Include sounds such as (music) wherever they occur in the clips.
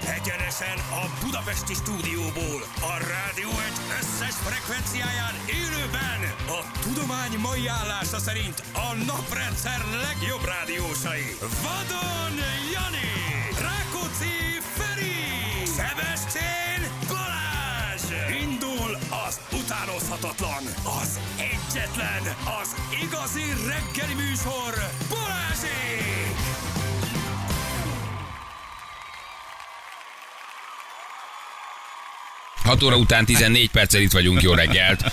Egyenesen a Budapesti stúdióból, a rádió egy összes frekvenciáján élőben a tudomány mai állása szerint a naprendszer legjobb rádiósai. Vadon Jani, Rákóczi Feri, Sebestyén Balázs! Indul az utánozhatatlan, az egyetlen, az igazi reggeli műsor, Balázsék! Hat óra után 14 perccel itt vagyunk, jó reggelt.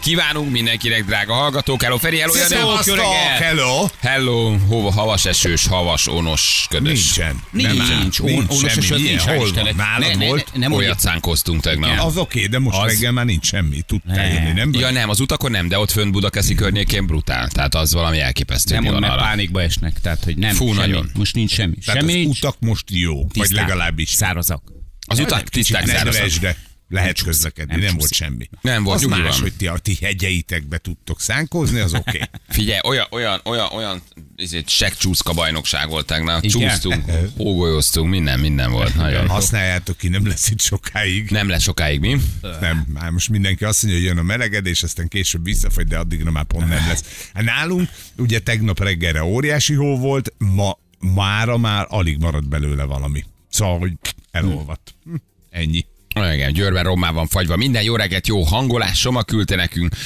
Kívánunk mindenkinek, drága hallgatók. Hello Feri, hello Jani. jó reggelt. Hello! Hello, hova havas esős, havas, onos, ködös. Nincsen. Nincs, Nem áll. nincs, Nincs on, onos semmi. esős, Milyen? nincs. hál' Hol Istennek. van? Nálad ne, volt? Ne, nem olyat szánkoztunk tegnap. Az oké, de most Az- reggel már nincs semmi. Tudtál jönni, nem? Ja nem, az utakon nem, de ott fönt Budakeszi környékén brutál. Tehát az valami elképesztő. Nem mi mond, van mert arra. pánikba esnek, tehát hogy nem. Fú, semmi. nagyon. Most nincs semmi. Tehát semmi az nincs. utak most jó, vagy tiszták, legalábbis Szárazak. Az utak tiszták szárazak. nedves, de lehet közlekedni, nem nem volt csúszik. semmi. Nem volt, az nyugi más, van. hogy ti a ti hegyeitekbe tudtok szánkozni, az (laughs) oké. Figyelj, olyan, olyan, olyan, olyan ezért seggcsúszka bajnokság volt tegnap. Igen? Csúsztunk, ógolyoztunk, minden, minden volt. Nagyon. Használjátok ki, nem lesz itt sokáig. Nem lesz sokáig, mi? Nem, már most mindenki azt mondja, hogy jön a melegedés, aztán később visszafagy, de addigra már pont nem lesz. Hát Nálunk ugye tegnap reggelre óriási hó volt, ma mára már alig maradt belőle valami. Szóval, hogy elolvadt. Hm, Ennyi. Ó, Igen, Győrben rommá van fagyva. Minden jó reggelt, jó hangolás, Soma küldte nekünk.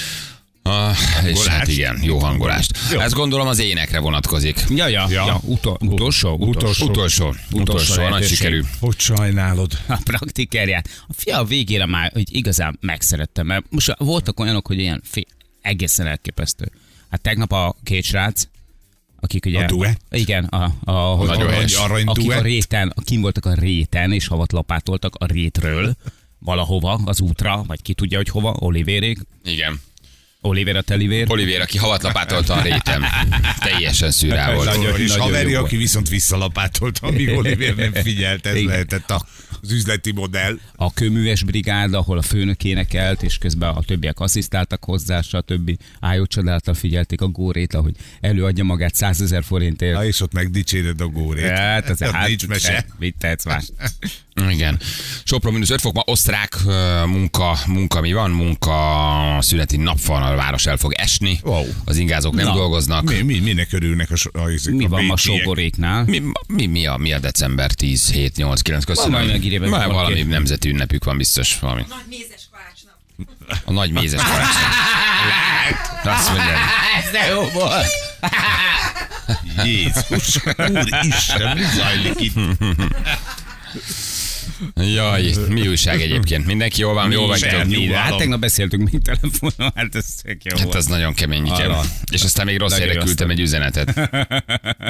Ah, és hát igen, jó hangolást. Jó. Ezt gondolom az énekre vonatkozik. Ja, ja, Ja. ja. ja. Uto, utolsó, hát Utolsó. Utolsó. Utolsó. Nagy lehetőség. sikerű. Hogy sajnálod? a praktikerját. A fia a végére már hogy igazán megszerettem, mert most voltak olyanok, hogy ilyen fél, egészen elképesztő. Hát tegnap a két srác, akik ugye... A duett? Igen, a, a, a Nagyon a- helyes. Arany akik a duett? réten, akin voltak a réten, és havat lapátoltak a rétről valahova, az útra, vagy ki tudja, hogy hova, Olivérék, Igen. Oliver a telivér. Olivér, aki havatlapátolta a (laughs) rétem. Teljesen szürá volt. Nagyon, és nagyon haveri, jó aki viszont visszalapátolt, amíg Oliver nem figyelt, ez Igen. lehetett a- az üzleti modell. a kőműves brigád, ahol a főnök énekelt, és közben a többiek asszisztáltak hozzá, stb. Ájó csodáltal figyelték a górét, ahogy előadja magát 100 ezer forintért. Na, és ott megdicséred a górét. Hát, az Ott hát, nincs mese. Mit tehetsz más? Igen. Sopron mínusz 5 fok, ma osztrák ö, munka, munka mi van? Munka szüneti nap van, a város el fog esni. Wow. Az ingázók nem Na. dolgoznak. Mi, mi, minek örülnek a, so- a, a Mi van ma Hát, békiek? sógoréknál? Mi, mi, mi, a, mi a december 10, 7, 8, 9? Köszönöm. Van valami megírva, Már valaki. valami nemzeti ünnepük van biztos. Valami. Nagy mézes kalácsnap. A nagy mézes karácsony. (laughs) Azt mondja. Ez de jó volt! Jézus, úristen, mi zajlik itt? Hm. Jaj, mi újság egyébként? Mindenki jól van, jól vagytok? semmi. Mire? Hát Nyugalom. tegnap beszéltünk még telefonon, hát ez tök jó Hát volt. az nagyon kemény, igen. Arra. És aztán még rossz helyre Nagyon küldtem egy (laughs) üzenetet.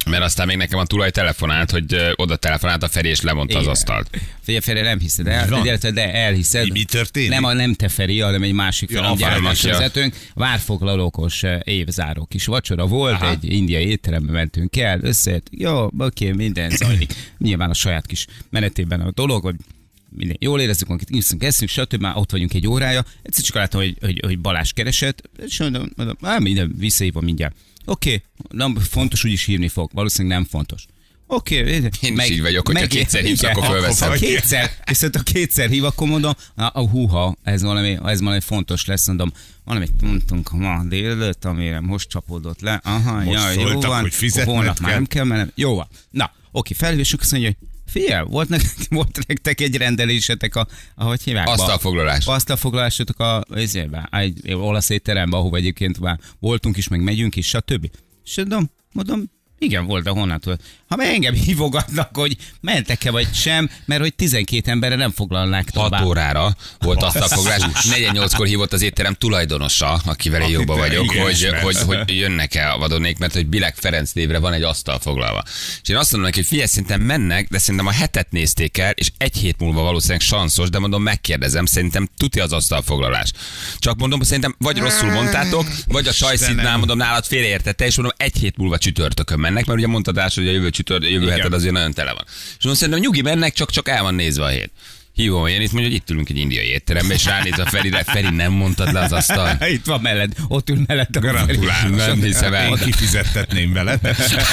Mert aztán még nekem a tulaj telefonált, hogy ö, oda telefonált a Feri, és lemondta az Igen. asztalt. Hát Figyelj, Feri, nem hiszed el, Van. de, de, de elhiszed. Mi- mi történik? Nem, a, nem te Feri, hanem egy másik Ja, ja, gyármás Feri, ja. vezetőnk. Várfoglalókos eh, évzáró kis vacsora volt, Aha. egy indiai étterembe mentünk el, összejött, jó, oké, minden zajlik. Nyilván a saját kis menetében a dolog, hogy minden, jól érezzük, akit iszunk, eszünk, stb. Már ott vagyunk egy órája. Egyszer csak láttam, hogy, hogy, hogy Balázs keresett, és mondom, mondom á, minden, visszahívom mindjárt. Oké, nem fontos, úgyis hívni fog. Valószínűleg nem fontos. Oké, én Én is így vagyok, hogyha kétszer hívsz, igen, akkor fölveszem. Ha kétszer, viszont ha kétszer hív, akkor mondom, a, a húha, ez valami, ez valami fontos lesz, mondom, valamit mondtunk ma délelőtt, amire most csapódott le, aha, Most ja, jó szóltak, van, hogy fizetned holnap már kell. nem kell mennem, jó van. Na, oké, felhívjuk, azt mondja, hogy Figyelj, volt, nek, (laughs) volt nektek egy rendelésetek, a, ahogy hívják? Asztalfoglalás. Asztalfoglalásotok a, ezébe, egy olasz étterembe, ahova egyébként már voltunk is, meg megyünk is, stb. És mondom, mondom, igen, volt, de honnan tudod? Ha meg engem hívogatnak, hogy mentek-e vagy sem, mert hogy 12 emberre nem foglalnák 6 tovább. órára volt asztalfoglalás. 48-kor hívott az étterem tulajdonosa, akivel én jobban Akit- vagyok, igen, hogy, ismersz. hogy, hogy jönnek-e a vadonnék, mert hogy Bilek Ferenc névre van egy asztal foglalva. És én azt mondom neki, hogy figyelj, szerintem mennek, de szerintem a hetet nézték el, és egy hét múlva valószínűleg sanszos, de mondom, megkérdezem, szerintem tuti az asztalfoglalás. Csak mondom, szerintem vagy rosszul mondtátok, vagy a sajszidnál mondom, nálad félreértette, és mondom, egy hét múlva csütörtökön mennek, mert ugye mondtad Ás, hogy a jövő csütört, jövő heted azért nagyon tele van. És mondom, szerintem nyugi mennek, csak, csak el van nézve a hét. Hívom a Jenit, mondja, hogy itt ülünk egy indiai étterembe, és ránéz a Ferire, Feri nem mondtad le az asztal. (laughs) Itt van mellett, ott ül mellett a Gratulálok. Nem hiszem el. Én kifizettetném vele. (laughs)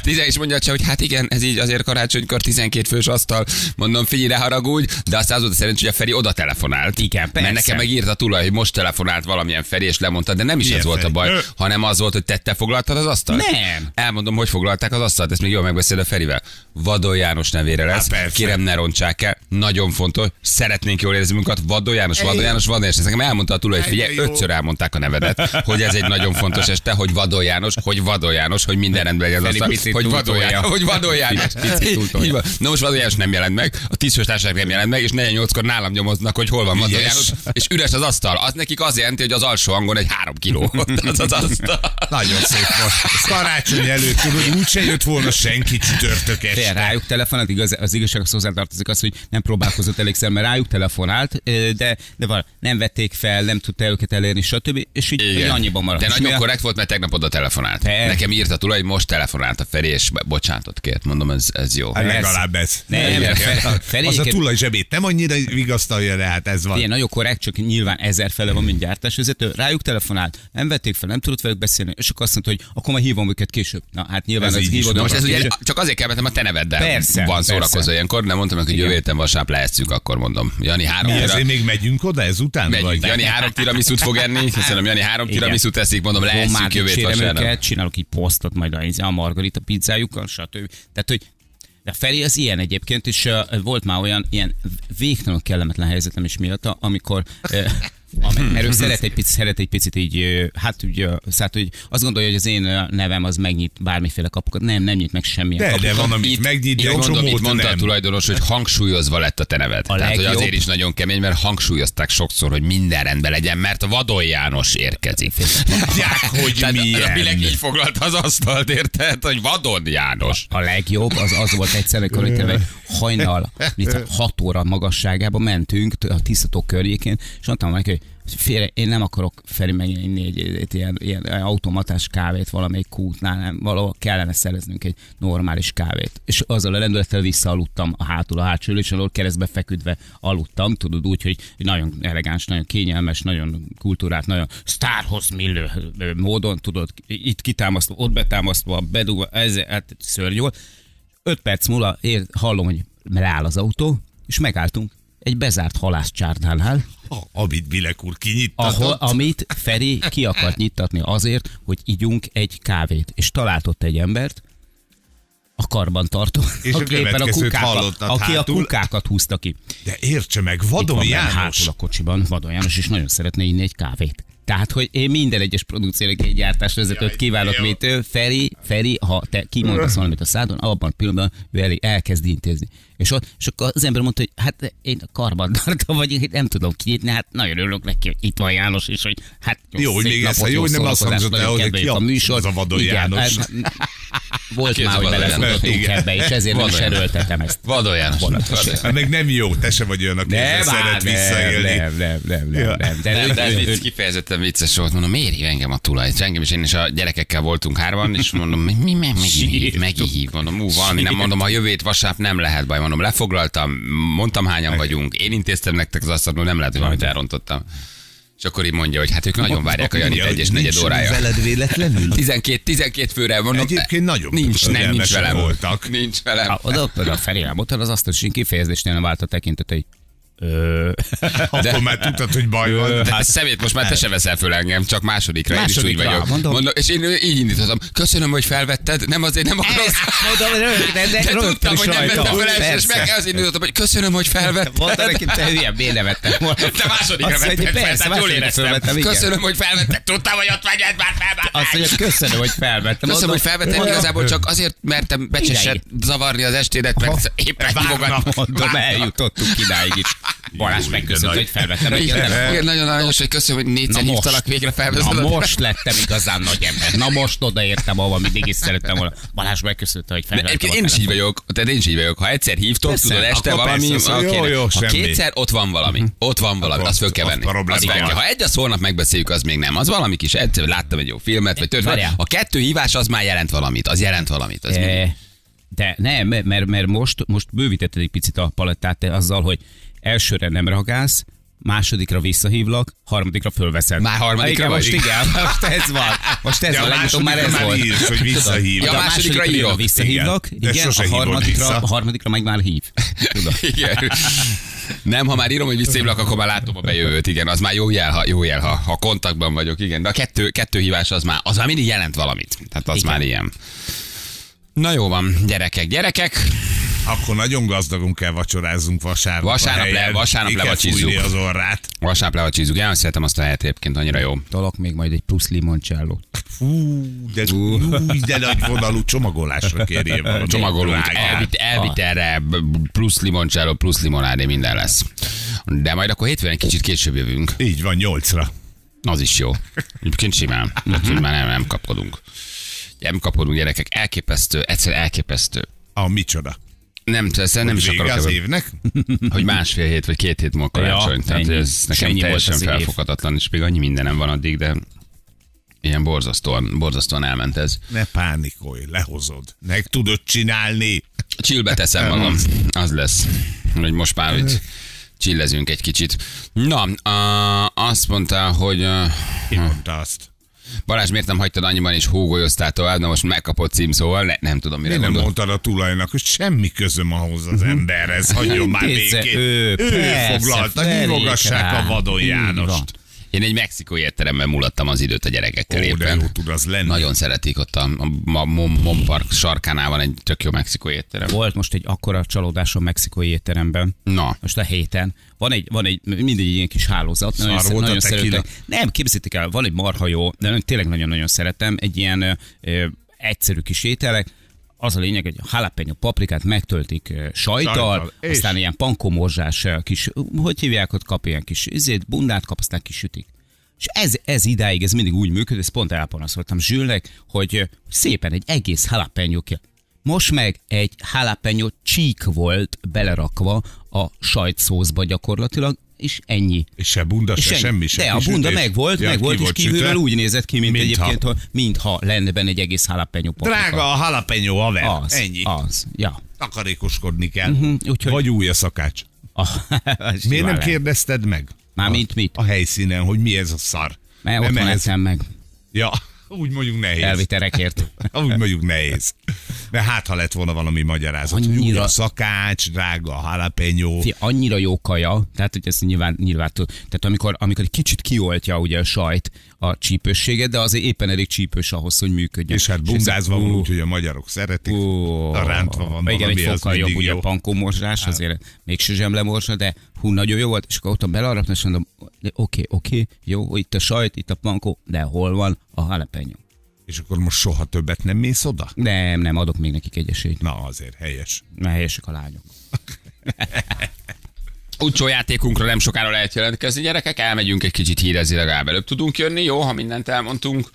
Tizen is mondja csak, hogy hát igen, ez így azért karácsonykor 12 fős asztal. Mondom, figyelj, ne haragudj, de aztán az volt a szerencsé, hogy a Feri oda telefonált. Igen, persze. Mert nekem megírta tulaj, hogy most telefonált valamilyen Feri, és lemondta, de nem is Milyen ez volt a Feri? baj, Ö. hanem az volt, hogy tette foglaltad az asztalt. Nem. Elmondom, hogy foglalták az asztalt, ezt még jól megbeszél a Ferivel. Vadon János nevére lesz. Há, Hát persze. Kérem, ne rontsák el. Nagyon fontos. Szeretnénk jól érezni magunkat. Vadon János, Vadon János, Vadon János. Ez nekem elmondta a tulaj, hogy Egyre figyelj, jó. ötször elmondták a nevedet, hogy ez egy nagyon fontos este, hogy Vadon János, hogy Vadon János, hogy minden rendben legyen az Feri asztal, picit hogy Vadon túltolja. János, hogy Vadon János. Picit- picit túltolja. Így van. Na most Vadon János nem jelent meg, a tízfős társaság nem jelent meg, és 48-kor nálam nyomoznak, hogy hol van Vadon Ügyes. János, és üres az asztal. Az nekik az jelenti, hogy az alsó hangon egy három kiló. Ott Az az asztal. Nagyon szép volt. Ez Karácsony előtt, tudod, úgyse jött volna senki csütörtök Fél, este. rájuk telefonált, igaz, az igazság az hozzátartozik az, hogy nem próbálkozott elégszer, mert rájuk telefonált, ö, de, de val, nem vették fel, nem tudta őket elérni, stb. És így Igen. annyiban maradt. De És mi nagyon a- korrekt volt, mert tegnap oda telefonált. Persze. Nekem írta tulaj, hogy most telefonált a Feri, és bocsánatot kért. Mondom, ez, ez jó. Hát Persze. legalább ez. Nem, Igen. Fe- Az a Feréket- tulaj zsebét nem annyira vigasztalja le, hát ez Ilyen van. nagyon korrekt, csak nyilván ezer fele van, mint gyártásvezető. Rájuk telefonált, nem vették fel, nem tudott velük beszélni, és akkor azt mondta, hogy akkor majd hívom őket később. Na hát nyilván Ez ez az így is hívod. Na most ez őket ugye később. csak azért kell, mert nem a te neveddel Persze, van persze. szórakozó ilyenkor, nem mondtam, neki, hogy jövő héten vasárnap leeszünk, akkor mondom. Jani három Mi, ezért tira, még megyünk oda ezután? megyünk. vagy? Jani három tiramisút fog enni, köszönöm, Jani három Igen. tiramisút eszik, mondom, Gombát leeszünk jövő hét dicsérem vasárnap. őket, csinálok így posztot majd a, a margarita pizzájukkal, stb. Tehát, hogy de Feri az ilyen egyébként, és uh, volt már olyan ilyen végtelenül kellemetlen helyzetem is miatta, amikor uh, mert ő szeret egy, picit, szeret egy picit így, ö, hát ugye, hát, hogy azt gondolja, hogy az én ö, nevem az megnyit bármiféle kapukat. Nem, nem nyit meg semmilyen De, kaput. de van, amit Itt- megnyitja, itt egy mondom, itt csomót mondta a nem. tulajdonos, hogy hangsúlyozva lett a te neved. A Tehát, hogy legjobb. azért is nagyon kemény, mert hangsúlyozták sokszor, hogy minden rendben legyen, mert a Vadon János érkezik. Tudják, hogy Tehát milyen. A Bilek így foglalta az asztalt, érted, hogy Vadon János. A legjobb az az volt egyszer, amikor itt egy hajnal, mint 6 óra magasságába mentünk t- a tisztató környékén, és mondtam neki, hogy félre, én nem akarok felé meginni egy, egy, egy ilyen, ilyen automatás kávét valamelyik kútnál, nem, valahol kellene szereznünk egy normális kávét. És azzal a lendülettel visszaaludtam a hátul, a hátsó ülésen, ahol keresztbe feküdve aludtam, tudod úgy, hogy nagyon elegáns, nagyon kényelmes, nagyon kultúrát, nagyon sztárhoz millő ö, módon, tudod, itt kitámasztva, ott betámasztva, bedugva, ez hát szörnyű volt. Öt perc múlva ér, hallom, hogy leáll az autó, és megálltunk egy bezárt halászcsárnánál, A- Amit Bilek úr kinyittatott. ahol, amit Feri ki akart nyittatni azért, hogy igyunk egy kávét. És talált ott egy embert, a karban tartó, És a aki éppen a következőt kukákat, hallottad aki a hátul. kukákat húzta ki. De értse meg, Itt Vadon van benne János. Hátul a kocsiban Vadon János, és nagyon szeretne inni egy kávét. Tehát, hogy én minden egyes produkciónak egy gyártásvezetőt kívánok, jó. mint ő. Feri, Feri, ha te kimondasz valamit a szádon, abban a pillanatban ő elé elkezd intézni. És, ott, és akkor az ember mondta, hogy hát én a karban tartom, vagy én nem tudom kinyitni, hát nagyon örülök neki, hogy itt van János, és hogy hát Jó, hogy szép még napot, ezt- jó, hogy nem azt szórakozást, hangzott el, nagyon hogy kedveljük ki a- a műsor. az a Vadon Igen, János. hát- Volt Ki az már, a hogy Vadon János? belefutottunk Igen. ebbe, és ezért nem Vadon is János. erőltetem ezt. Vadon János. Vadon Hát meg nem jó, te se vagy olyan, aki ezzel szeret visszaélni. hát Nem, nem, nem, nem, Ja. nem. De, De, de, de ez de, vicc, kifejezetten vicces volt. Mondom, miért hív engem a tulaj? Engem is én is a gyerekekkel voltunk hárman, és mondom, mi, mi meg, megint hív, megint hív. Mondom, ú, valami nem mondom, a jövő hét vasárnap nem lehet baj. Mondom, lefoglaltam, mondtam hányan vagyunk, én intéztem nektek az asztalt, mondom, nem lehet, hogy valamit elrontottam. És akkor így mondja, hogy hát ők nagyon várják a Janit Mondja, egy és hogy negyed nincs órája. veled véletlenül? 12, 12 főre mondom. Egyébként nagyon nincs, nem, nincs türelmesek velem. voltak. Nincs velem. oda, oda felé elmondtad, az azt, hogy kifejezésnél nem vált a tekintet, hogy (laughs) ö, Akkor már tudtad, hogy baj van. De hát szemét most már te se veszel föl engem, csak másodikra, én is Másodikra, úgy vagyok. mondom. és én így indítottam. Köszönöm, hogy felvetted, nem azért nem akarok. Eh, hát mondom, rögtön, de De rögtön tudtam, is hogy nem rajta. vettem fel első, és Persze. meg azért indítottam, hogy köszönöm, hogy felvetted. (laughs) Mondta neki, te hülye, miért nem vettem volna? (laughs) Te másodikra Azt mondja, vetted fel, persze, tehát jól másodikra felvettem, éreztem. igen. Köszönöm, hogy felvetted, tudtam, hogy ott vagy, ez már felvetted. Azt mondja, köszönöm, hogy felvettem. Köszönöm, hogy Mondom, felvettem, mondom, igazából csak azért mertem becseset zavarni az estédet, mert éppen hívogatnak. Mondom, eljutottunk idáig (laughs) is. Balázs megköszönt, hogy felvettem. Igen, nem Igen, igen, nagyon aranyos, hogy köszönöm, hogy négyszer hívtalak végre felvezetett. Na most lettem igazán nagy ember. Na most odaértem, ahova mindig is szerettem volna. Balázs megköszönte, hogy De felvettem. egyébként a én is így telefont. vagyok, tehát én is így vagyok. Ha egyszer hívtok, Persze, tudod, este akkor valami, persze, az- oké, jó, jó, ha semmi. Mhm. kétszer ott van valami, ott van valami, Akkor azt föl kell az venni. probléma Azt fel kell. van. Ha egy, azt holnap megbeszéljük, az még nem. Az valami kis, egyszer láttam egy jó filmet, vagy történet. Várjál. A kettő hívás az már jelent valamit, az jelent valamit. Az mindig. Eh, De nem, mert, mert most, most bővítetted egy picit a palettát te azzal, hogy elsőre nem reagálsz, másodikra visszahívlak, harmadikra fölveszed. Már harmadikra Igen, vagy? most igen, (laughs) most ez van. Most ez Ja, van, a legutóbb már ez másodikra már volt. írsz, hogy visszahívlak. Ja, a másodikra, másodikra írok, írok, visszahívlak, igen. De igen, sose a, hívod harmadikra, vissza. a harmadikra meg már hív. Tudod. (laughs) Igen. Nem, ha már írom, hogy visszaívlak, akkor már látom a bejövőt, igen, az már jó jel, ha, jó jel, ha, ha kontaktban vagyok, igen, de a kettő, kettő hívás az már, az már mindig jelent valamit, tehát az igen. már ilyen. Na jó van, gyerekek, gyerekek, Akkor nagyon gazdagon kell vacsorázzunk vasárnap. a Vasárnap le- helyen. vasárnap Ki kell levacsizzuk. fújni az orrát. vasárnap le a csízunk, én szeretem azt a helyet egyébként, annyira jó. Talak még majd egy plusz limoncellót. Fú, de, (laughs) fú, de nagy vonalú csomagolásra kérje (laughs) valamit. Csomagolunk, Drágán. elvit, elviterre, plusz limoncsálló, plusz limonádé, minden lesz. De majd akkor hétfőn egy kicsit később jövünk. Így van, nyolcra. Az is jó. Egyébként simán. Úgyhogy már nem, nem kapkodunk. Nem kapkodunk, gyerekek. Elképesztő, egyszer elképesztő. A micsoda? Nem, ezt nem is Vége akarok az ebben- évnek? hogy másfél hét vagy két hét múlva karácsony. Ja, Ja, Tehát ennyi. ez nekem Ennyi ennyi volt teljesen az év. felfoghatatlan, és még annyi mindenem van addig, de ilyen borzasztóan, borzasztóan elment ez. Ne pánikolj, lehozod. Meg tudod csinálni. Csillbe teszem magam. Az lesz. Hogy most már úgy csillezünk egy kicsit. Na, a, azt mondta, hogy a, Ki mondta azt? Balázs, miért nem hagytad annyiban és hógolyoztál tovább? Na most megkapott cím, szóval ne, nem tudom, mire Én nem gondol. mondtad a tulajnak, hogy semmi közöm ahhoz az emberhez, hagyjon már Kétszer, békét. Mhm. ő, persze, foglalta, felék hívogassák rá. a vadon Így Jánost. van. Én egy mexikói étteremben mulattam az időt a gyerekekkel Ó, de éppen. jó tud az lenni. Nagyon szeretik ott a, a, a Mon, Mon Park sarkánál van egy tök jó mexikói étterem. Volt most egy akkora csalódásom mexikói étteremben. Na, Most a héten. Van egy, van egy mindegy ilyen kis hálózat. Szar nagyon, volt a nagyon tequila? szeretem. Nem, képzétek el, van egy marha jó, de nagyon- tényleg nagyon-nagyon szeretem. Egy ilyen ö, ö, egyszerű kis ételek. Az a lényeg, hogy a jalapeno paprikát megtöltik ö, sajttal, Sajttal, sajttal és? aztán ilyen pankomorzsás ö, kis, hogy hívják, ott kap ilyen kis izét, bundát kap, aztán kisütik. És ez, ez idáig, ez mindig úgy működött, ezt pont elpanaszoltam Zsülnek, hogy ö, szépen egy egész jalapeno kell. Most meg egy jalapeno csík volt belerakva a sajtszószba gyakorlatilag, és ennyi. És se bunda, se, semmi, se De a kisütés. bunda meg volt, Ja, meg ki volt, és kívülről sütve? úgy nézett ki, mint, Mintha. egyébként, ha. mintha lenne benne egy egész jalapeno paprika. Drága a halapenyó haver, az, ennyi. Az, ja. Takarékoskodni kell. Mhm, úgyhogy- Vagy új a szakács. Az Miért nem (laughs) simán lehet. kérdezted meg? Mármint mit? A helyszínen, hogy mi ez a szar. Mert ott Nem van ehhez- eszem meg. Ja, (laughs) úgy mondjuk nehéz. Elviterekért. Úgy mondjuk nehéz. De hát, ha lett volna valami magyarázat, Annyira... hogy Annyira- új a szakács, drága a halapenyó. Fia, annyira jó kaja, tehát hogy ezt nyilván, nyilván tud. Tehát amikor, amikor egy kicsit kioltja ugye a sajt a csípősséget, de azért éppen elég csípős ahhoz, hogy működjön. És hát bundázva ez- van, ú, úgyhogy a magyarok szeretik. ú, A rántva van Igen, valami, egy az fokkal jobb, mindig ugye jó. Hát. a pankómorzsás, azért mégsem zsemlemorzsa, de hú, nagyon jó volt, és akkor ott belaraptam, és mondom, de oké, oké, jó, itt a sajt, itt a pankó, de hol van a halapenyó? És akkor most soha többet nem mész oda? Nem, nem, adok még nekik egy esélyt, Na azért, helyes. mert helyesek a lányok. Utcsó játékunkra nem sokára lehet jelentkezni, gyerekek, elmegyünk egy kicsit hírezni, legalább előbb tudunk jönni, jó, ha mindent elmondtunk.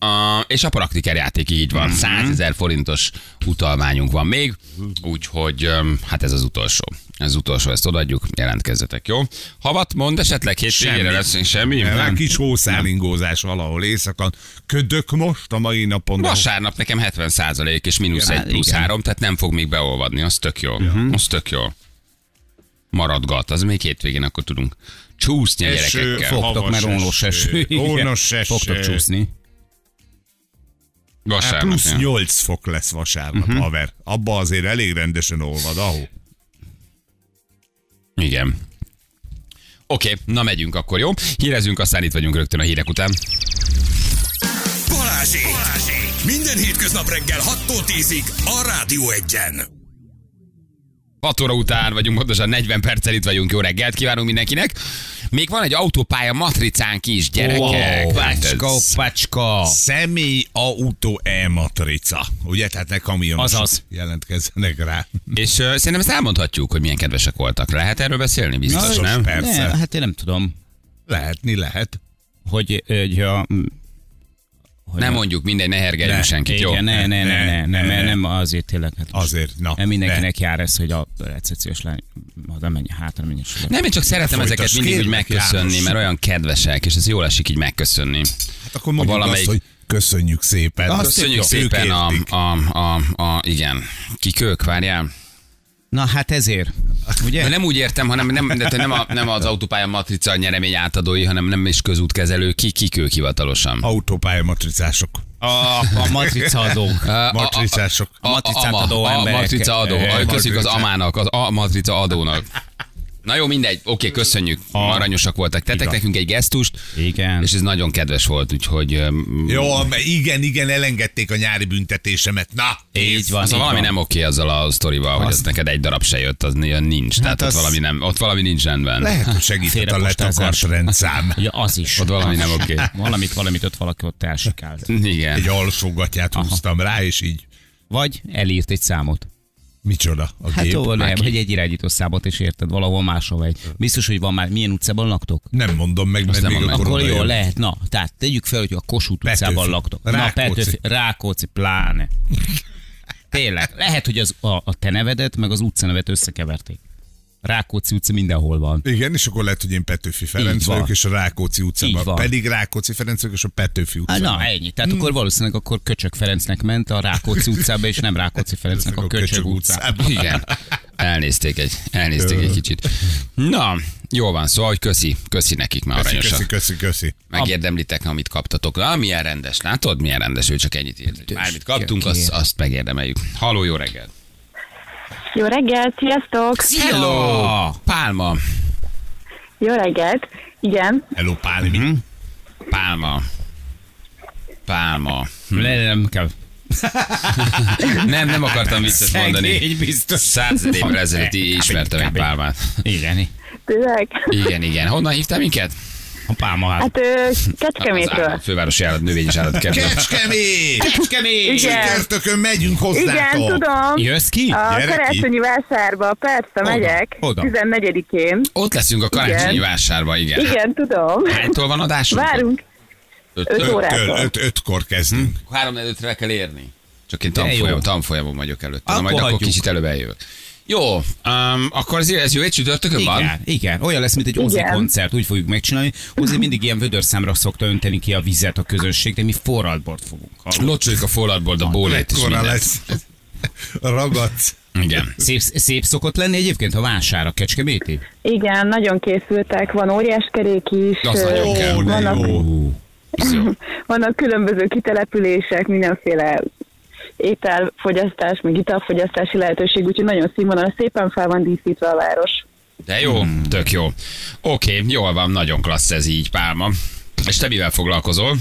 Uh, és a praktiker játék így van, 100 ezer forintos utalmányunk van még, úgyhogy um, hát ez az utolsó. Ez az utolsó, ezt odaadjuk, jelentkezzetek, jó? Havat mond esetleg hétvégére Semmi. leszünk, semmi? Nem, Nem. Már kis hószálingózás valahol éjszakon. Ködök most a mai napon. de- Vasárnap nekem 70 százalék és mínusz Ja, egy plusz igen. három, tehát nem fog még beolvadni, az tök jó. Az tök jó. Maradgat, az még hétvégén akkor tudunk csúszni a Eső, gyerekekkel. fog- Fogtok, Havas mert ónos eső, eső. igen. ónos eső. Fogtok csúszni. Hát Vasárnap. plusz ja. 8 fok lesz vasárnap, uh-huh. haver. Abba azért elég rendesen olvad, ahó. Igen. Oké, okay, na megyünk akkor, jó? Hírezünk, aztán itt vagyunk rögtön a hírek után. Balázsék! Balázsék! Minden hétköznap reggel 6-tól 10-ig a Rádió 1-en. 6 óra után vagyunk, pontosan 40 perccel itt vagyunk. Jó reggelt kívánunk mindenkinek. Még van egy autópálya matricánk is, gyerekek. Wow, Hát ez- Pacska, pacska. Személy autó e-matrica. Ugye? Tehát ne kamionosok Azaz. jelentkezzenek rá. És uh, szerintem ezt elmondhatjuk, hogy milyen kedvesek voltak. Lehet erről beszélni? Biztos, Na, nem? persze. Ne, hát én nem tudom, Lehetni lehet. hogy, hogy a... Hogy Nem mondjuk, mindegy, ne hergeljünk Ne, senkit, jó? Igen, ne, ne, ne, ne, ne, ne. ne, nem azért tényleg. Hát most Azért, na, Nem mindenkinek jár ez, hogy a recepciós lány oda menj, hátra menj. és oda. Nem, én csak szeretem Folytasd, ezeket mindig úgy kérlek, megköszönni, János. mert olyan kedvesek, és ez jól esik így megköszönni. Hát akkor mondjuk valamelyik- azt, hogy köszönjük szépen. Azt Köszönjük ők szépen a, értik. a, a, a, igen, kikők, várjál. Na hát ezért. Ugye? De nem úgy értem, hanem nem, de te nem, a, nem az autópálya matrica nyeremény átadói, hanem nem is közútkezelő, ki, kik ők hivatalosan. Autópálya matricások. A, a matrica (laughs) adók. A- a- Matricások. a- a- matricát ama, adó a emberek. matrica adó. Eh, Köszönjük az matrica. amának, az a matrica adónak. Na jó, mindegy. Oké, okay, köszönjük. Aranyosak voltak. Tettek Igen. nekünk egy gesztust, Igen. és ez nagyon kedves volt, úgyhogy... öm, Jó, mert igen, igen, elengedték a nyári büntetésemet. Na, Így van. Szóval így valami van. nem oké azzal a sztorival, hogy az neked egy darab se jött, az olyan nincs. Tehát ott az- valami nem, ott valami nincs rendben. lehet, (laughs) hogy segített a Félrepostázás. letakart rendszám. (laughs) Ja, az is. Ott valami nem oké. Valamit, valamit ott valaki ott elsikált. Igen. Egy alsógatját húztam rá, és így, Vagy elírt egy számot. micsoda a Hát gép. jó, nem, neki. hogy egy irányító számot is érted, valahol máshol egy. Biztos, hogy van már, milyen utcában laktok? Nem mondom meg, mert nem még mondom. akkor Akkor oda jó, jön. lehet. Na, tehát tegyük fel, hogy a Kossuth Petőfi. utcában laktok. Na, Rákóczi. Petőfi, Rákóczi, pláne. Tényleg, lehet, hogy az, a, a te nevedet, meg az utcanevet összekeverték. Rákóczi utca mindenhol van. Igen, és akkor lehet, hogy én Petőfi Ferenc Így van. vagyok, és a Rákóczi Így utcában. van. Pedig Rákóczi Ferenc vagyok, és a Petőfi Á, utcában. Na, ennyi. Tehát akkor valószínűleg akkor Köcsög Ferencnek ment a Rákóczi utcába, és nem Rákóczi Ferencnek a Köcsög utcába. Igen. Elnézték egy, elnézték egy kicsit. Na, jó van, szóval, hogy köszi, köszi nekik már Köszi, aranyosak. köszi, köszi, köszi. Megérdemlitek, amit kaptatok. Na, milyen rendes, látod? Milyen rendes, ő csak ennyit írt. hogy Bármit kaptunk, azt, azt megérdemeljük. Haló, jó reggel. Jó reggelt, sziasztok! Hello! Pálma. Jó reggelt! Igen, Hello, Pálmi. Mhm. Hm? Pálma. Pálma. Le, nem kell. Nem, nem akartam viccet mondani. Szegény biztos. Száz évvel ezelőtt í- ismertem egy pálmát. Igen, tényleg? Igen, igen. Honnan hívtál minket? a pálma hát. Hát ö, Az Kecskemétről. állat, fővárosi állat, növényes állat kerület. Kecskemét! Kemény! Igen, Csütörtökön megyünk igen, hozzátok. tudom. Jössz ki? Hát, A Gyere ki. karácsonyi vásárba, persze, megyek. oda. 14-én. Ott leszünk a karácsonyi Igen. vásárban, igen. Igen, tudom. Hánytól van adásunk? Várunk 5 Öttől, órától. öt, ötkor Hm? kezdünk. Három előttre kell érni. Csak én De jó. tanfolyam, tanfolyamon vagyok előtte. Na, Akkor majd akkor hagyjuk. kicsit előbb eljövök. Jó, um, akkor ez, ez jó, egy csütörtökön van? Igen, igen, olyan lesz, mint egy Ozi Igen. koncert, úgy fogjuk megcsinálni. Ozi mindig ilyen vödörszámra szokta önteni ki a vizet a közönség, de mi forradbort fogunk. Hallod? Locsoljuk a forradból, a bólét is Ekkora mindent. lesz. Ragadsz. Igen. Szép, szép szokott lenni egyébként a vására, Kecskeméti? Igen, nagyon készültek, van óriás kerék is. Az ö, nagyon kell. Ó, de vannak, jó. vannak különböző kitelepülések, mindenféle ételfogyasztás, meg italfogyasztási lehetőség, úgyhogy nagyon színvonalas, szépen fel van díszítve a város. De jó, hmm. tök jó. Oké, jól van, nagyon klassz ez így, Pálma. És te mivel foglalkozol?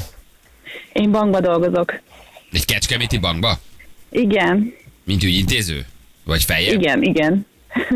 Én bankba dolgozok. Egy kecskeméti bankba? Igen, Mint ügyintéző? Vagy feljebb? igen, igen.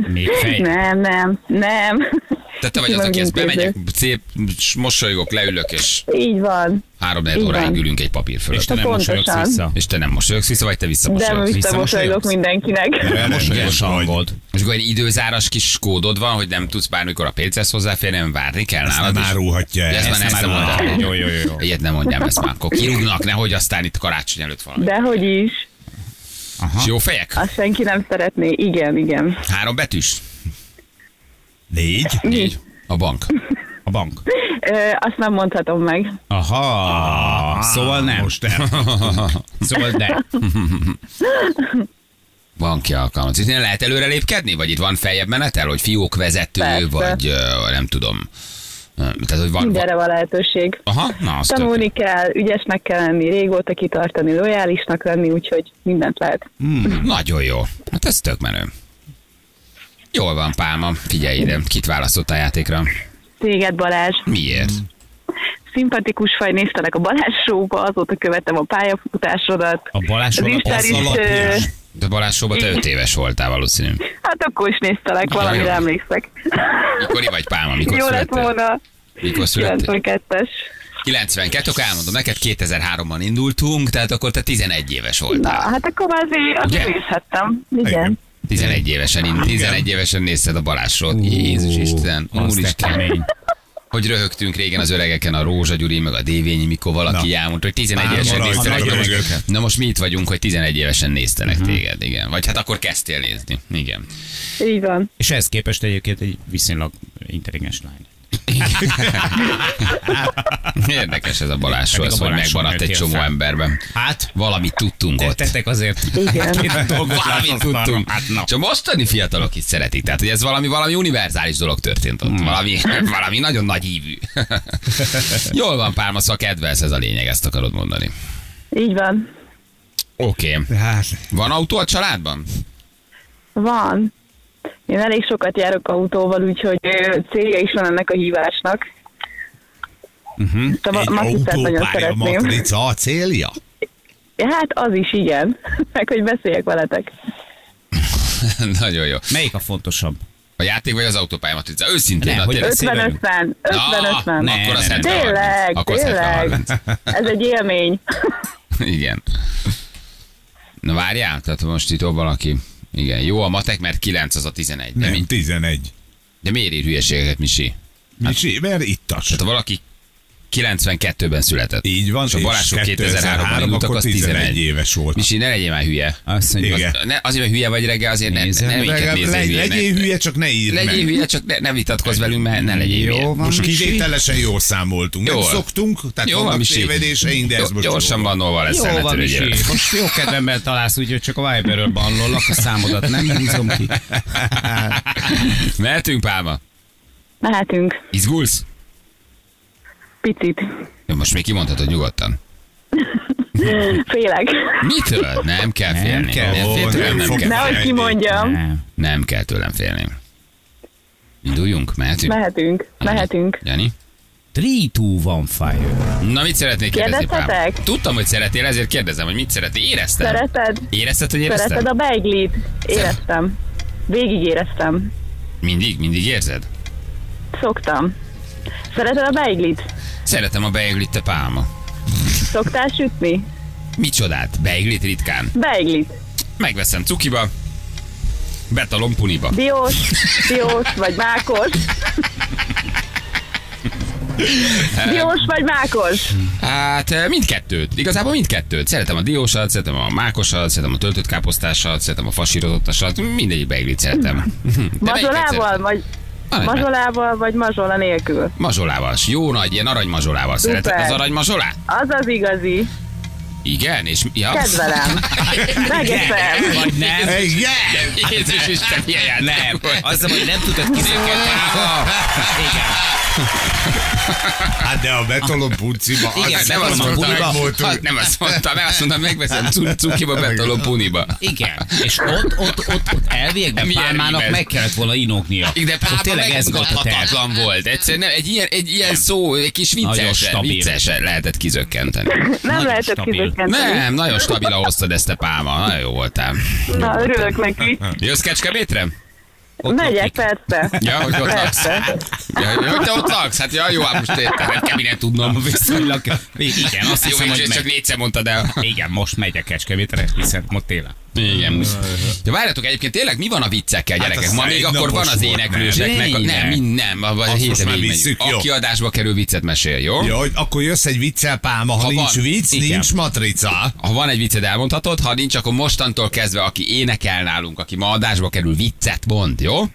Még fej. Nem, nem, nem. (laughs) Tehát te vagy az, Sima aki ezt ügyintéző. bemegyek, szép, s- mosolygok, leülök, és Így van. három négy Így óráig van. ülünk egy papír fölött. És te nem Pontosan. mosolyogsz vissza. És te nem mosolyogsz vissza, vagy te De visszamosolyogsz? visszamosolyogok mindenkinek. Mosolyos Igen, hangod. És akkor egy időzáras kis kódod van, hogy nem tudsz bármikor a pénzhez hozzáférni, nem várni kell Ezt nálad. nem és- árulhatja el. De ezt már nem Ezt nem szabad árulhatja. elmondani. Jó, jó, jó, jó. Ilyet nem mondjam, ezt már akkor kirúgnak, nehogy aztán itt karácsony előtt valami. Dehogy is. És jó fejek? Azt senki nem szeretné. Igen, igen. Három betűs? Négy. Négy. A bank. A bank. Ö, azt nem mondhatom meg. Aha, szóval nem. Most el. Szóval de. Banki alkalmat. Itt nem lehet előre lépkedni? Vagy itt van feljebb menetel, hogy fiók vezető, Persze. vagy ö, nem tudom. Ö, Tehát, hogy van... Mindenre van lehetőség. Aha, na azt Tanulni kell, ügyesnek kell lenni, régóta kitartani, lojálisnak lenni, úgyhogy mindent lehet. Mm, Nagyon jó. Hát ez tök menő. Jól van, Pálma. Figyelj ide, kit választottál játékra? Téged Balázs. Miért? Szimpatikus faj, néztelek a Balázs show-ba, azóta követem a pályafutásodat. A Balázs Az Roland Isten az is, alapján. ö, De Balázs Sóba te 5 éves voltál valószínű. Hát akkor is néztelek, valamire emlékszek. Mikori vagy, Pálma? Mikor Jó lett születtél? volna. Mikor születtél? 92-es. 92, akkor elmondom neked, 2003-ban indultunk, tehát akkor te 11 éves Na, voltál. hát akkor már azért Ugye? azt nézhettem. Igen. 11 évesen, ind- 11 évesen nézted a Balázsot. Jézus Isten, Ú, az de Úristen. kemény. Hogy röhögtünk régen az öregeken, a Rózsa Gyuri, meg a Dévényi, mikor valaki Na. elmondta, hogy 11 Pálma évesen rajta néztenek. rajta téged. röhögök. Na most mi itt vagyunk, hogy 11 évesen Mhm. néztenek téged, igen. Vagy hát akkor kezdtél nézni, igen. Így van. És ehhez képest egyébként egy viszonylag intelligens lány. (laughs) Érdekes ez a Balázs Pedig a ez hogy Balázs megmaradt nőtt egy ilyen csomó fel. emberben. Hát, Valamit tudtunk ott. tettek azért. Igen. (laughs) Két dolgot Valamit látott arra. tudtunk. Hát na. És a mostani fiatalok is szeretik. Tehát, hogy ez valami, valami univerzális dolog történt Hmm. ott. Valami, valami nagyon nagy hívű. (laughs) Jól van, Pálma, szóval kedvelsz, ez a lényeg, ezt akarod mondani. Így van. Oké. Okay. Hát, Van autó a családban? (laughs) Van. Én elég sokat járok autóval, úgyhogy ö, célja is van ennek a hívásnak. Uh-huh. egy autópálya matrica a célja? Hát az is igen, (laughs) meg hogy beszéljek veletek. Nagyon jó. Melyik a fontosabb? A játék vagy az autópályamatrizá? Őszintén, Nem, na, hogy tényleg. Ah, 50-50, 50-50. Na, akkor az ne, 70 ne, Tényleg, Akkor az 70 tényleg. Ez egy élmény. (laughs) (laughs) Igen. Na várjál, tehát most itt ott valaki. Igen, jó a matek, mert 9 az a 11. De, mi, Nem, 11. de miért ír hülyeségeket, Misi? Misi, mert ittas. Tehát ha valaki 92-ben született. Hát, Így van, és a Balázsok 2003-ban indultak, akkor az 11. éves volt. Misi, ne legyél már hülye. Azt mondja, Igen. Az, ne, azért, mert hülye vagy reggel, azért ne, ne, Nézem, ne minket Legalább nézzél legy- hülyének. Legyél hülye, csak ne írd Legyél meg. hüye, csak ne, ne vitatkozz velünk, mert ne legyél hülye. Jó van, Most Misi. kivételesen jól számoltunk. Nem Jól. szoktunk, tehát Jó van, vannak Misi. tévedéseink, de ez Jó- most Gyorsan van, hol lesz Jó van, Misi. Most jó kedvemmel találsz, úgyhogy csak a Viberről bannollak a számodat, nem húzom ki. Mehetünk, Pálma? Mehetünk, Izgulsz? picit. Jó, most még kimondhatod nyugodtan. Félek. Mitől? Nem kell Nem félni. kell. Én Ó, tőlem nem nem, fog- kell. Nehogy kimondjam. Nem. nem kell tőlem félni. Induljunk, mehetünk? Mehetünk, mehetünk. Jani? 3, 2, 1, fire. Na, mit szeretnék kérdezni, Pálma? Kérdezhetek? Tudtam, hogy szeretnél, ezért kérdezem, hogy mit szeretnél. Éreztem? Szereted? Érezted, hogy éreztem? Szereted a beiglit? Éreztem. Végig éreztem. Mindig, mindig érzed? Szoktam. Szereted a beiglit? Szeretem a beiglit, te pálma. Szoktál sütni? Micsodát? Beiglit ritkán. Beiglit. Megveszem cukiba, betalom (laughs) puniba. Diós, diós vagy mákos. Diós vagy mákos? Hát eh, mindkettőt, igazából mindkettőt. Szeretem a diósat, szeretem a mákosat, szeretem a töltött káposztásat, szeretem a fasírozottasat, mindegyik beiglit szeretem. (laughs) De melyiket Mazsolával szereted? vagy Ah, Arany- mazsolával vagy mazsola nélkül? Mazsolával, s jó nagy, ilyen aranymazsolával. Szuper. Szereted az aranymazsolát? Az az igazi. Igen, és... Ja. (laughs) Kedvelem. Megeszem. Vagy nem. Igen! (laughs) Jézus Isten, milyen játék Nem, volt. az, hogy nem tudod kinőket. Hát de a betolom puciba, az Igen, Hát nem azt Betolom mondta, a puniba. hát nem azt mondta, mert azt mondta, megveszem cu- cukiba, betolom puniba. Igen, és ott, ott, ott, ott elviekben Milyen Pálmának rímel. meg kellett volna inoknia. De Ott pápa tényleg ez volt a terv. megmutathatatlan volt. Egyszerűen nem, egy, ilyen, egy ilyen szó, egy kis Nagyon viccesen, stabil. viccesen lehetett kizökkenteni. Nem Nagyon lehetett stabil. kizökkenteni. Nem, nagyon stabil hoztad ezt a pálma. Nagyon jó voltál. Na, örülök neki. Jössz kecskemétre? Ott Megyek, lakik. persze. Ja, hogy ott laksz. Persze. Ja, hogy te ott laksz? Hát ja, jó, hát most értem, nem kell mindent tudnom. Viszonylag. Igen, azt Jó, hiszem, hogy hogy csak meg. négyszer mondtad el. Igen, most megyek Kecskemétre, hiszen ma télen. Igen. Ja, várjátok, egyébként tényleg mi van a viccekkel, Hát gyerekek? az Ma egy még akkor napos van az volt, éneklőseknek. nem? Nem, mind nem. A, a Azt most héten már végig visszük, megyünk. jó. Aki adásba kerül, viccet mesél, jó? Jó, hogy akkor jössz egy viccel pálma, ha, Ha nincs van. vicc, Igen. nincs matrica. Ha van egy vicced, elmondhatod, ha nincs, akkor mostantól kezdve, aki énekel nálunk, aki ma adásba kerül, viccet mond, jó?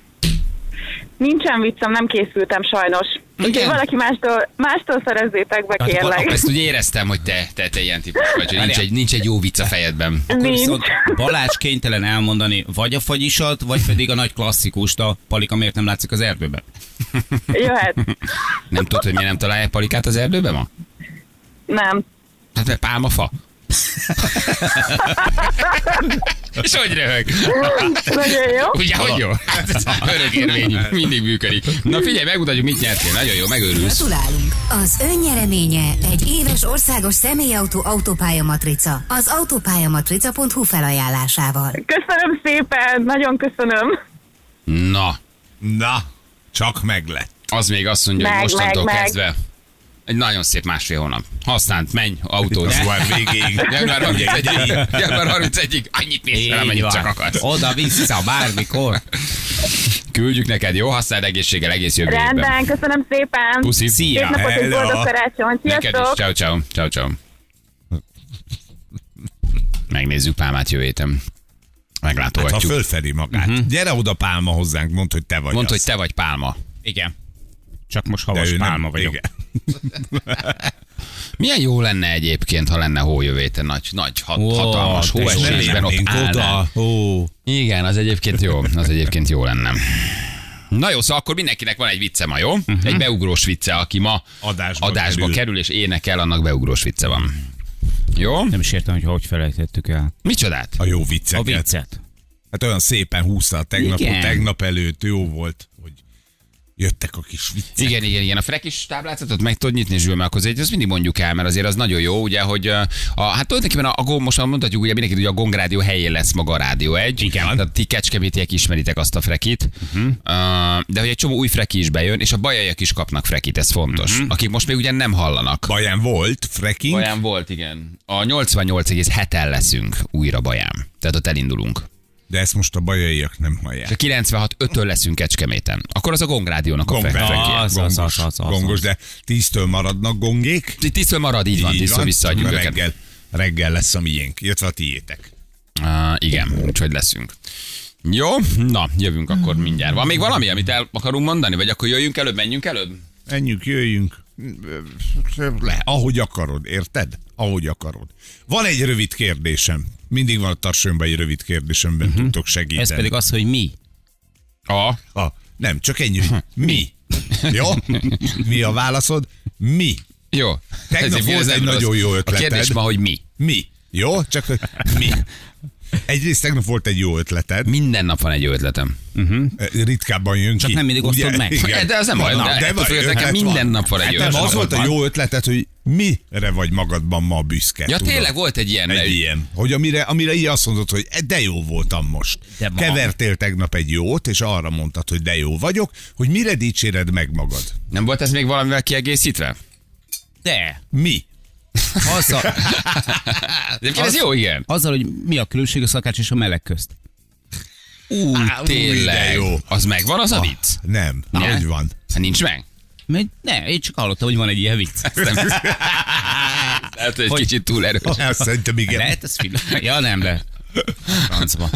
Nincsen viccem, nem készültem sajnos. Úgyhogy Igen. valaki mástól, mástól szerezzétek Akkor, be, akkor kérlek. ezt úgy éreztem, hogy te, te, te ilyen típus vagy, hogy nincs Várjál. egy, nincs egy jó vicc a fejedben. Akkor Nincs. viszont Balázs kénytelen elmondani vagy a fagyisat, vagy pedig a nagy klasszikust, a palika miért nem látszik az erdőben. Jöhet. Nem tudod, hogy miért nem találják palikát az erdőben ma? Nem. Hát mert pálmafa. És hogy röhög? Nagyon jó. Ugye, hogy jó? Hát ez örök érvényű, mindig működik. Na figyelj, megmutatjuk, mit nyertél. Nagyon jó, megőrülsz. Gratulálunk! Az önnyereménye egy éves országos személyautó autópályamatrica az autópályamatrica.hu felajánlásával. Köszönöm szépen, nagyon köszönöm. Na, Na, csak meg lett. az még azt mondja, hogy Meg, mostantól meg, meg. kezdve egy nagyon szép másfél hónap. Használd, menj, autóz. Szóval végéig. Január 31-ig. Január 31-ig. Annyit mész fel, amennyit csak akarsz. Oda-vissza, bármikor. Küldjük neked, jó? Használd egészséggel egész jövő évben. Rendben, köszönöm szépen. Puszi. Szép Szia! napot, egy Hello. boldog karácsonyt. Neked is. Sziasztok! Ciao, ciao. Ciao, ciao. Megnézzük Pálmát jövő héten. Hát, ha Meglátogatjuk. fölfedi magát. Gyere oda pálma hozzánk, mondd, hogy te vagy Mondd, az. hogy te vagy Pálma. Igen. Csak most havas ő nem- pálma vagyok. igen. Milyen jó lenne egyébként, ha lenne hójövéte, nagy, nagy hat, Ó, hatalmas tessék, hóesésben ott mennénk állnál. Ó, Igen, az egyébként jó, az egyébként jó lenne. Na jó, szóval akkor mindenkinek van egy vicce ma, jó? Uh-huh. Egy beugrós vicce, aki ma Adásba adásba kerül. kerül. kerül és énekel, annak beugrós vicce van. Jó? Nem is értem, hogy hogy felejtettük el. Micsodát? a jó A vicceket. viccet. Hát olyan szépen húzta a tegnapot, Igen. tegnap előtt jó volt, hogy jöttek a kis viccek. Igen, igen, igen. A frekis táblázatot meg tudod nyitni, Zsül, mert akkor ezt mindig mondjuk el, mert azért az nagyon jó, ugye, hogy ö, a, hát tulajdonképpen a, a, gong- most már mondhatjuk, ugye mindenki tudja, a Gong Rádió helyén lesz maga a Rádió egy. Igen. Tehát ti kecskemétiek ismeritek azt a frekit. Uh-huh. De hogy egy csomó új freki is bejön, és a bajaiak is kapnak frekit, ez fontos. Uh-huh. Akik most még ugye nem hallanak. Baján volt, fracking. Baján volt, igen. A 88,7-en leszünk újra Baján. Tehát ott elindulunk. De ezt most a bajaiak nem hallják. És a 96-5-ön leszünk Kecskeméten. Akkor az a Gong Rádiónak a Gongrádió. frekje. Az, az, az, az, az. Gongos, de tíztől maradnak gongék. Tisztől marad, így van, tisztől visszaadjuk Mert őket. reggel, reggel lesz a miénk, illetve a tiétek. Uh, igen, úgyhogy leszünk. Jó, na, jövünk akkor mindjárt. Van még valami, amit el akarunk mondani? Vagy akkor jöjjünk előbb, menjünk előbb? Menjünk, jöjjünk. Le, ahogy akarod, érted? Ahogy akarod. Van egy rövid kérdésem. Mindig van a tarsőmben egy rövid kérdésemben, Mhm. uh-huh. tudtok segíteni. Ez pedig az, hogy mi. A. A, nem, csak ennyi. hogy Mhm. Mi? Jó? Mi a válaszod? Mi? Jó. Tegnap Ez volt igaz, egy nem nagyon rossz. jó A kérdés ötleted. ma, hogy mi? Mi? Jó? Csak hogy mi? Egyrészt tegnap volt egy jó ötleted, Minden nap van egy jó ötletem. ritkábban jön Csak ki. nem mindig osztod meg. De az nem baj, de ettől van, függetlenül ötlet minden nap van egy hát jó nem, ötlet. az volt a jó ötleted, hogy mire vagy magadban ma büszke. Ja, tudod? tényleg volt egy ilyen. Egy ilyen. Hogy amire, amire így azt mondod, hogy "E, de jó voltam most. De ma. Kevertél tegnap egy jót, és arra mondtad, hogy de jó vagyok, hogy mire dicséred meg magad. Nem volt ez még valamivel kiegészítve? De. Mi? Azzal, Egyébként ez jó, igen. azzal, hogy mi a különbség a szakács és a meleg közt. Ú, de tényleg. jó. Ah. Az megvan az a vicc? Nem. Ne? Hogy van? Hát Nincs meg? Mert ne, én csak hallottam, hogy van egy ilyen vicc. Nem. Lehet, hogy egy kicsit túl erős. Azt Hát szerintem igen. Lehet ez film? Ja, nem, de. (laughs) Francba.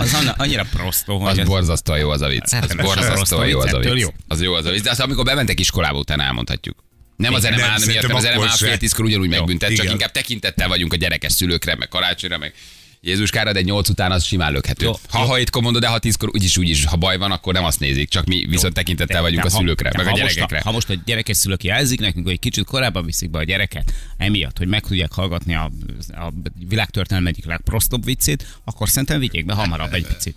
Az anna- annyira prostó, hogy Az ez- borzasztóan jó az a vicc. Az borzasztóan jó az a vicc. Az jó az a vicc. De azt amikor bementek iskolába, utána elmondhatjuk. Nem az Nem, NMA miatt, szerintem mert az akkor NMA se. fél tízkor ugyanúgy megbüntet, csak igen. inkább tekintettel vagyunk a gyerekes szülőkre, meg karácsonyra, meg Jézuskára, de nyolc után az simán lökhető. Jó. ha hajtkor mondod, de ha tízkor úgyis, úgyis, ha baj van, akkor nem azt nézik, csak mi viszont tekintettel vagyunk De a ha- szülőkre, de meg a ha most gyerekekre. ha most a gyerekes szülők jelzik nekünk, hogy kicsit korábban viszik be a gyereket, emiatt, hogy meg tudják hallgatni a, a világtörténelem egyik legprostobb viccét, akkor szerintem vigyék be hamarabb egy picit.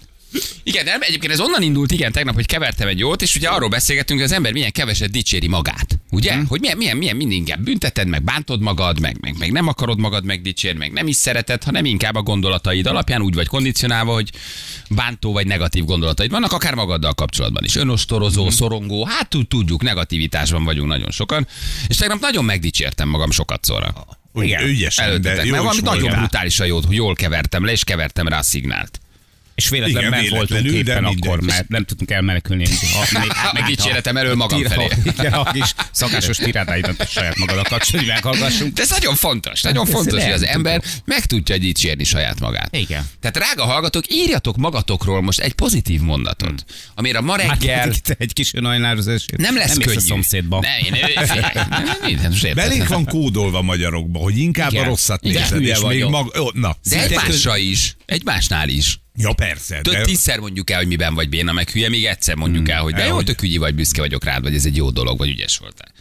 Igen, nem, egyébként ez onnan indult, igen, tegnap, hogy kevertem egy jót, és ugye arról beszélgettünk, hogy az ember milyen keveset dicséri magát. Ugye? Mhm. Hogy milyen, milyen, milyen mind inkább bünteted, meg bántod magad, meg, meg, meg nem akarod magad megdicsérni, meg nem is szereted, hanem inkább a gondolataid alapján úgy vagy kondicionálva, hogy bántó vagy negatív gondolataid vannak, akár magaddal kapcsolatban is. Önostorozó, Mhm. szorongó, hát tud- tudjuk, negativitásban vagyunk nagyon sokan. És tegnap nagyon megdicsértem magam sokat szóra. Hogy Igen. Ügyesen, de Előttetek, jó mert is valami nagyon voltál. brutálisan jót, jól kevertem le, és kevertem rá a szignált. És véletlenül Igen, nem voltunk véletlenül, de éppen mindegy. akkor, mert nem tudtunk elmenekülni. (laughs) Ha, még, Meg dicséretem elől magam tira- felé. (laughs) Igen, a kis szakásos tirádáidat a saját magadat kapcsolatban, hogy meghallgassunk. De ez nagyon fontos, nagyon Ez fontos, hogy nem az tudom. ember meg tudja dicsérni saját magát. Igen. Tehát rága hallgatók, írjatok magatokról most egy pozitív mondatot, amire ma reggel Hát, te egy kis önajnározás. nem lesz mész könnyű. a szomszédba. Nem, én, én, én, én, én, Belénk van kódolva magyarokba, hogy inkább Igen. a rosszat Igen. nézed, Hülye és még vagyok. mag... Ó, na. de egymásra is, egymásnál is. Ja, persze. Több de- tízszer mondjuk el, hogy miben vagy béna, meg hülye, még egyszer mondjuk Hmm. el, hogy de jó, tök ügyi vagy, büszke vagyok rád, vagy ez egy jó dolog, vagy ügyes voltál.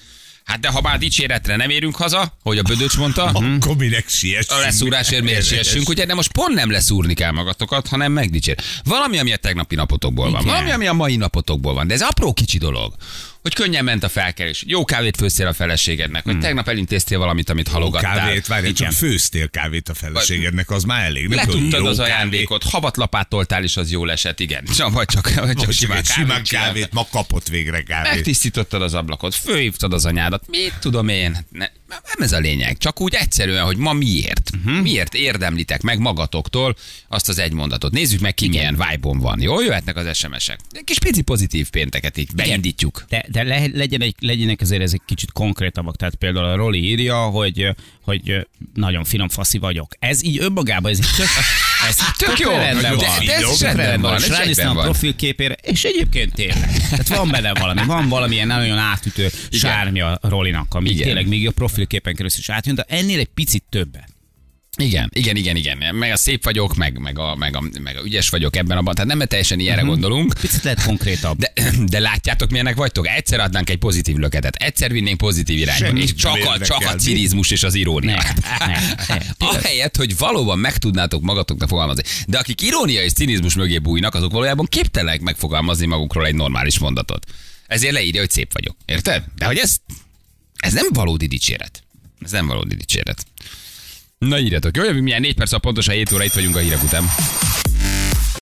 Hát de ha már dicséretre nem érünk haza, hogy a bödöcs mondta, Akkor minek siessünk. A leszúrásért miért siessünk, ugye? De most pont nem leszúrni kell magatokat, hanem megdicsér. Valami, ami a tegnapi napotokból van, valami, ami a mai napotokból van, de ez apró kicsi dolog. Hogy könnyen ment a felkerés, hogy jó kávét főztél a feleségednek, hogy tegnap elintéztél valamit, amit halogattál. Hmm. Kávét, várj, csak főztél kávét a feleségednek, az már elég. Nem tudom, Letudtad jó az kávé. ajándékot, havat lapátoltál, és az jól esett, igen. Csak, vagy csak, vagy csak Most simán, egy simán csináltál. kávét, ma kapott végre kávét. Hát Megtisztítottad az ablakot, főhívtad az anyádat, mit tudom én. Ne, nem ez a lényeg, csak úgy egyszerűen, hogy ma miért. Uh-huh. Miért érdemlitek meg magatoktól azt az egy mondatot. Nézzük meg, ki milyen vibe van. Jó, jöhetnek az SMS-ek. Egy kis pici pozitív pénteket így beindítjuk. De, de le, legyen egy, legyenek azért ezek kicsit konkrétabbak. Tehát például a Roli írja, hogy, hogy nagyon finom faszi vagyok. Ez így önmagában, ez így tök, Ez Tök jó. rendben De- van. de ez is Tök rendben van, ez És ránéztem rendben a van. profilképére, és egyébként tényleg. Tehát van benne valami, van valamilyen nagyon átütő Igen. sármja a Rolinak, ami Igen. tényleg még a profilképen keresztül is átjön, de ennél egy picit többet. Igen, igen, igen, igen. Meg a szép vagyok, meg, meg, a, meg, a, meg a ügyes vagyok ebben abban. Tehát nem teljesen ilyenre gondolunk. Picit lehet konkrétabb. De, de (clears throat) látjátok, milyenek vagytok? Egyszer adnánk egy pozitív löketet, egyszer vinnénk pozitív irányba, Semmit és csak nem a, csak a érdekel. cirizmus és az irónia. Ne, (laughs) ne, ne, tényleg. Ahelyett, hogy valóban meg tudnátok magatoknak fogalmazni. De akik irónia és cinizmus mögé bújnak, azok valójában képtelenek megfogalmazni magukról egy normális mondatot. Ezért leírja, hogy szép vagyok. Érted? De hogy ez, ez nem valódi dicséret. Ez nem valódi dicséret. Na írjatok, jó, jövünk milyen 4 perc a pontosan 7 óra itt vagyunk a hírek után.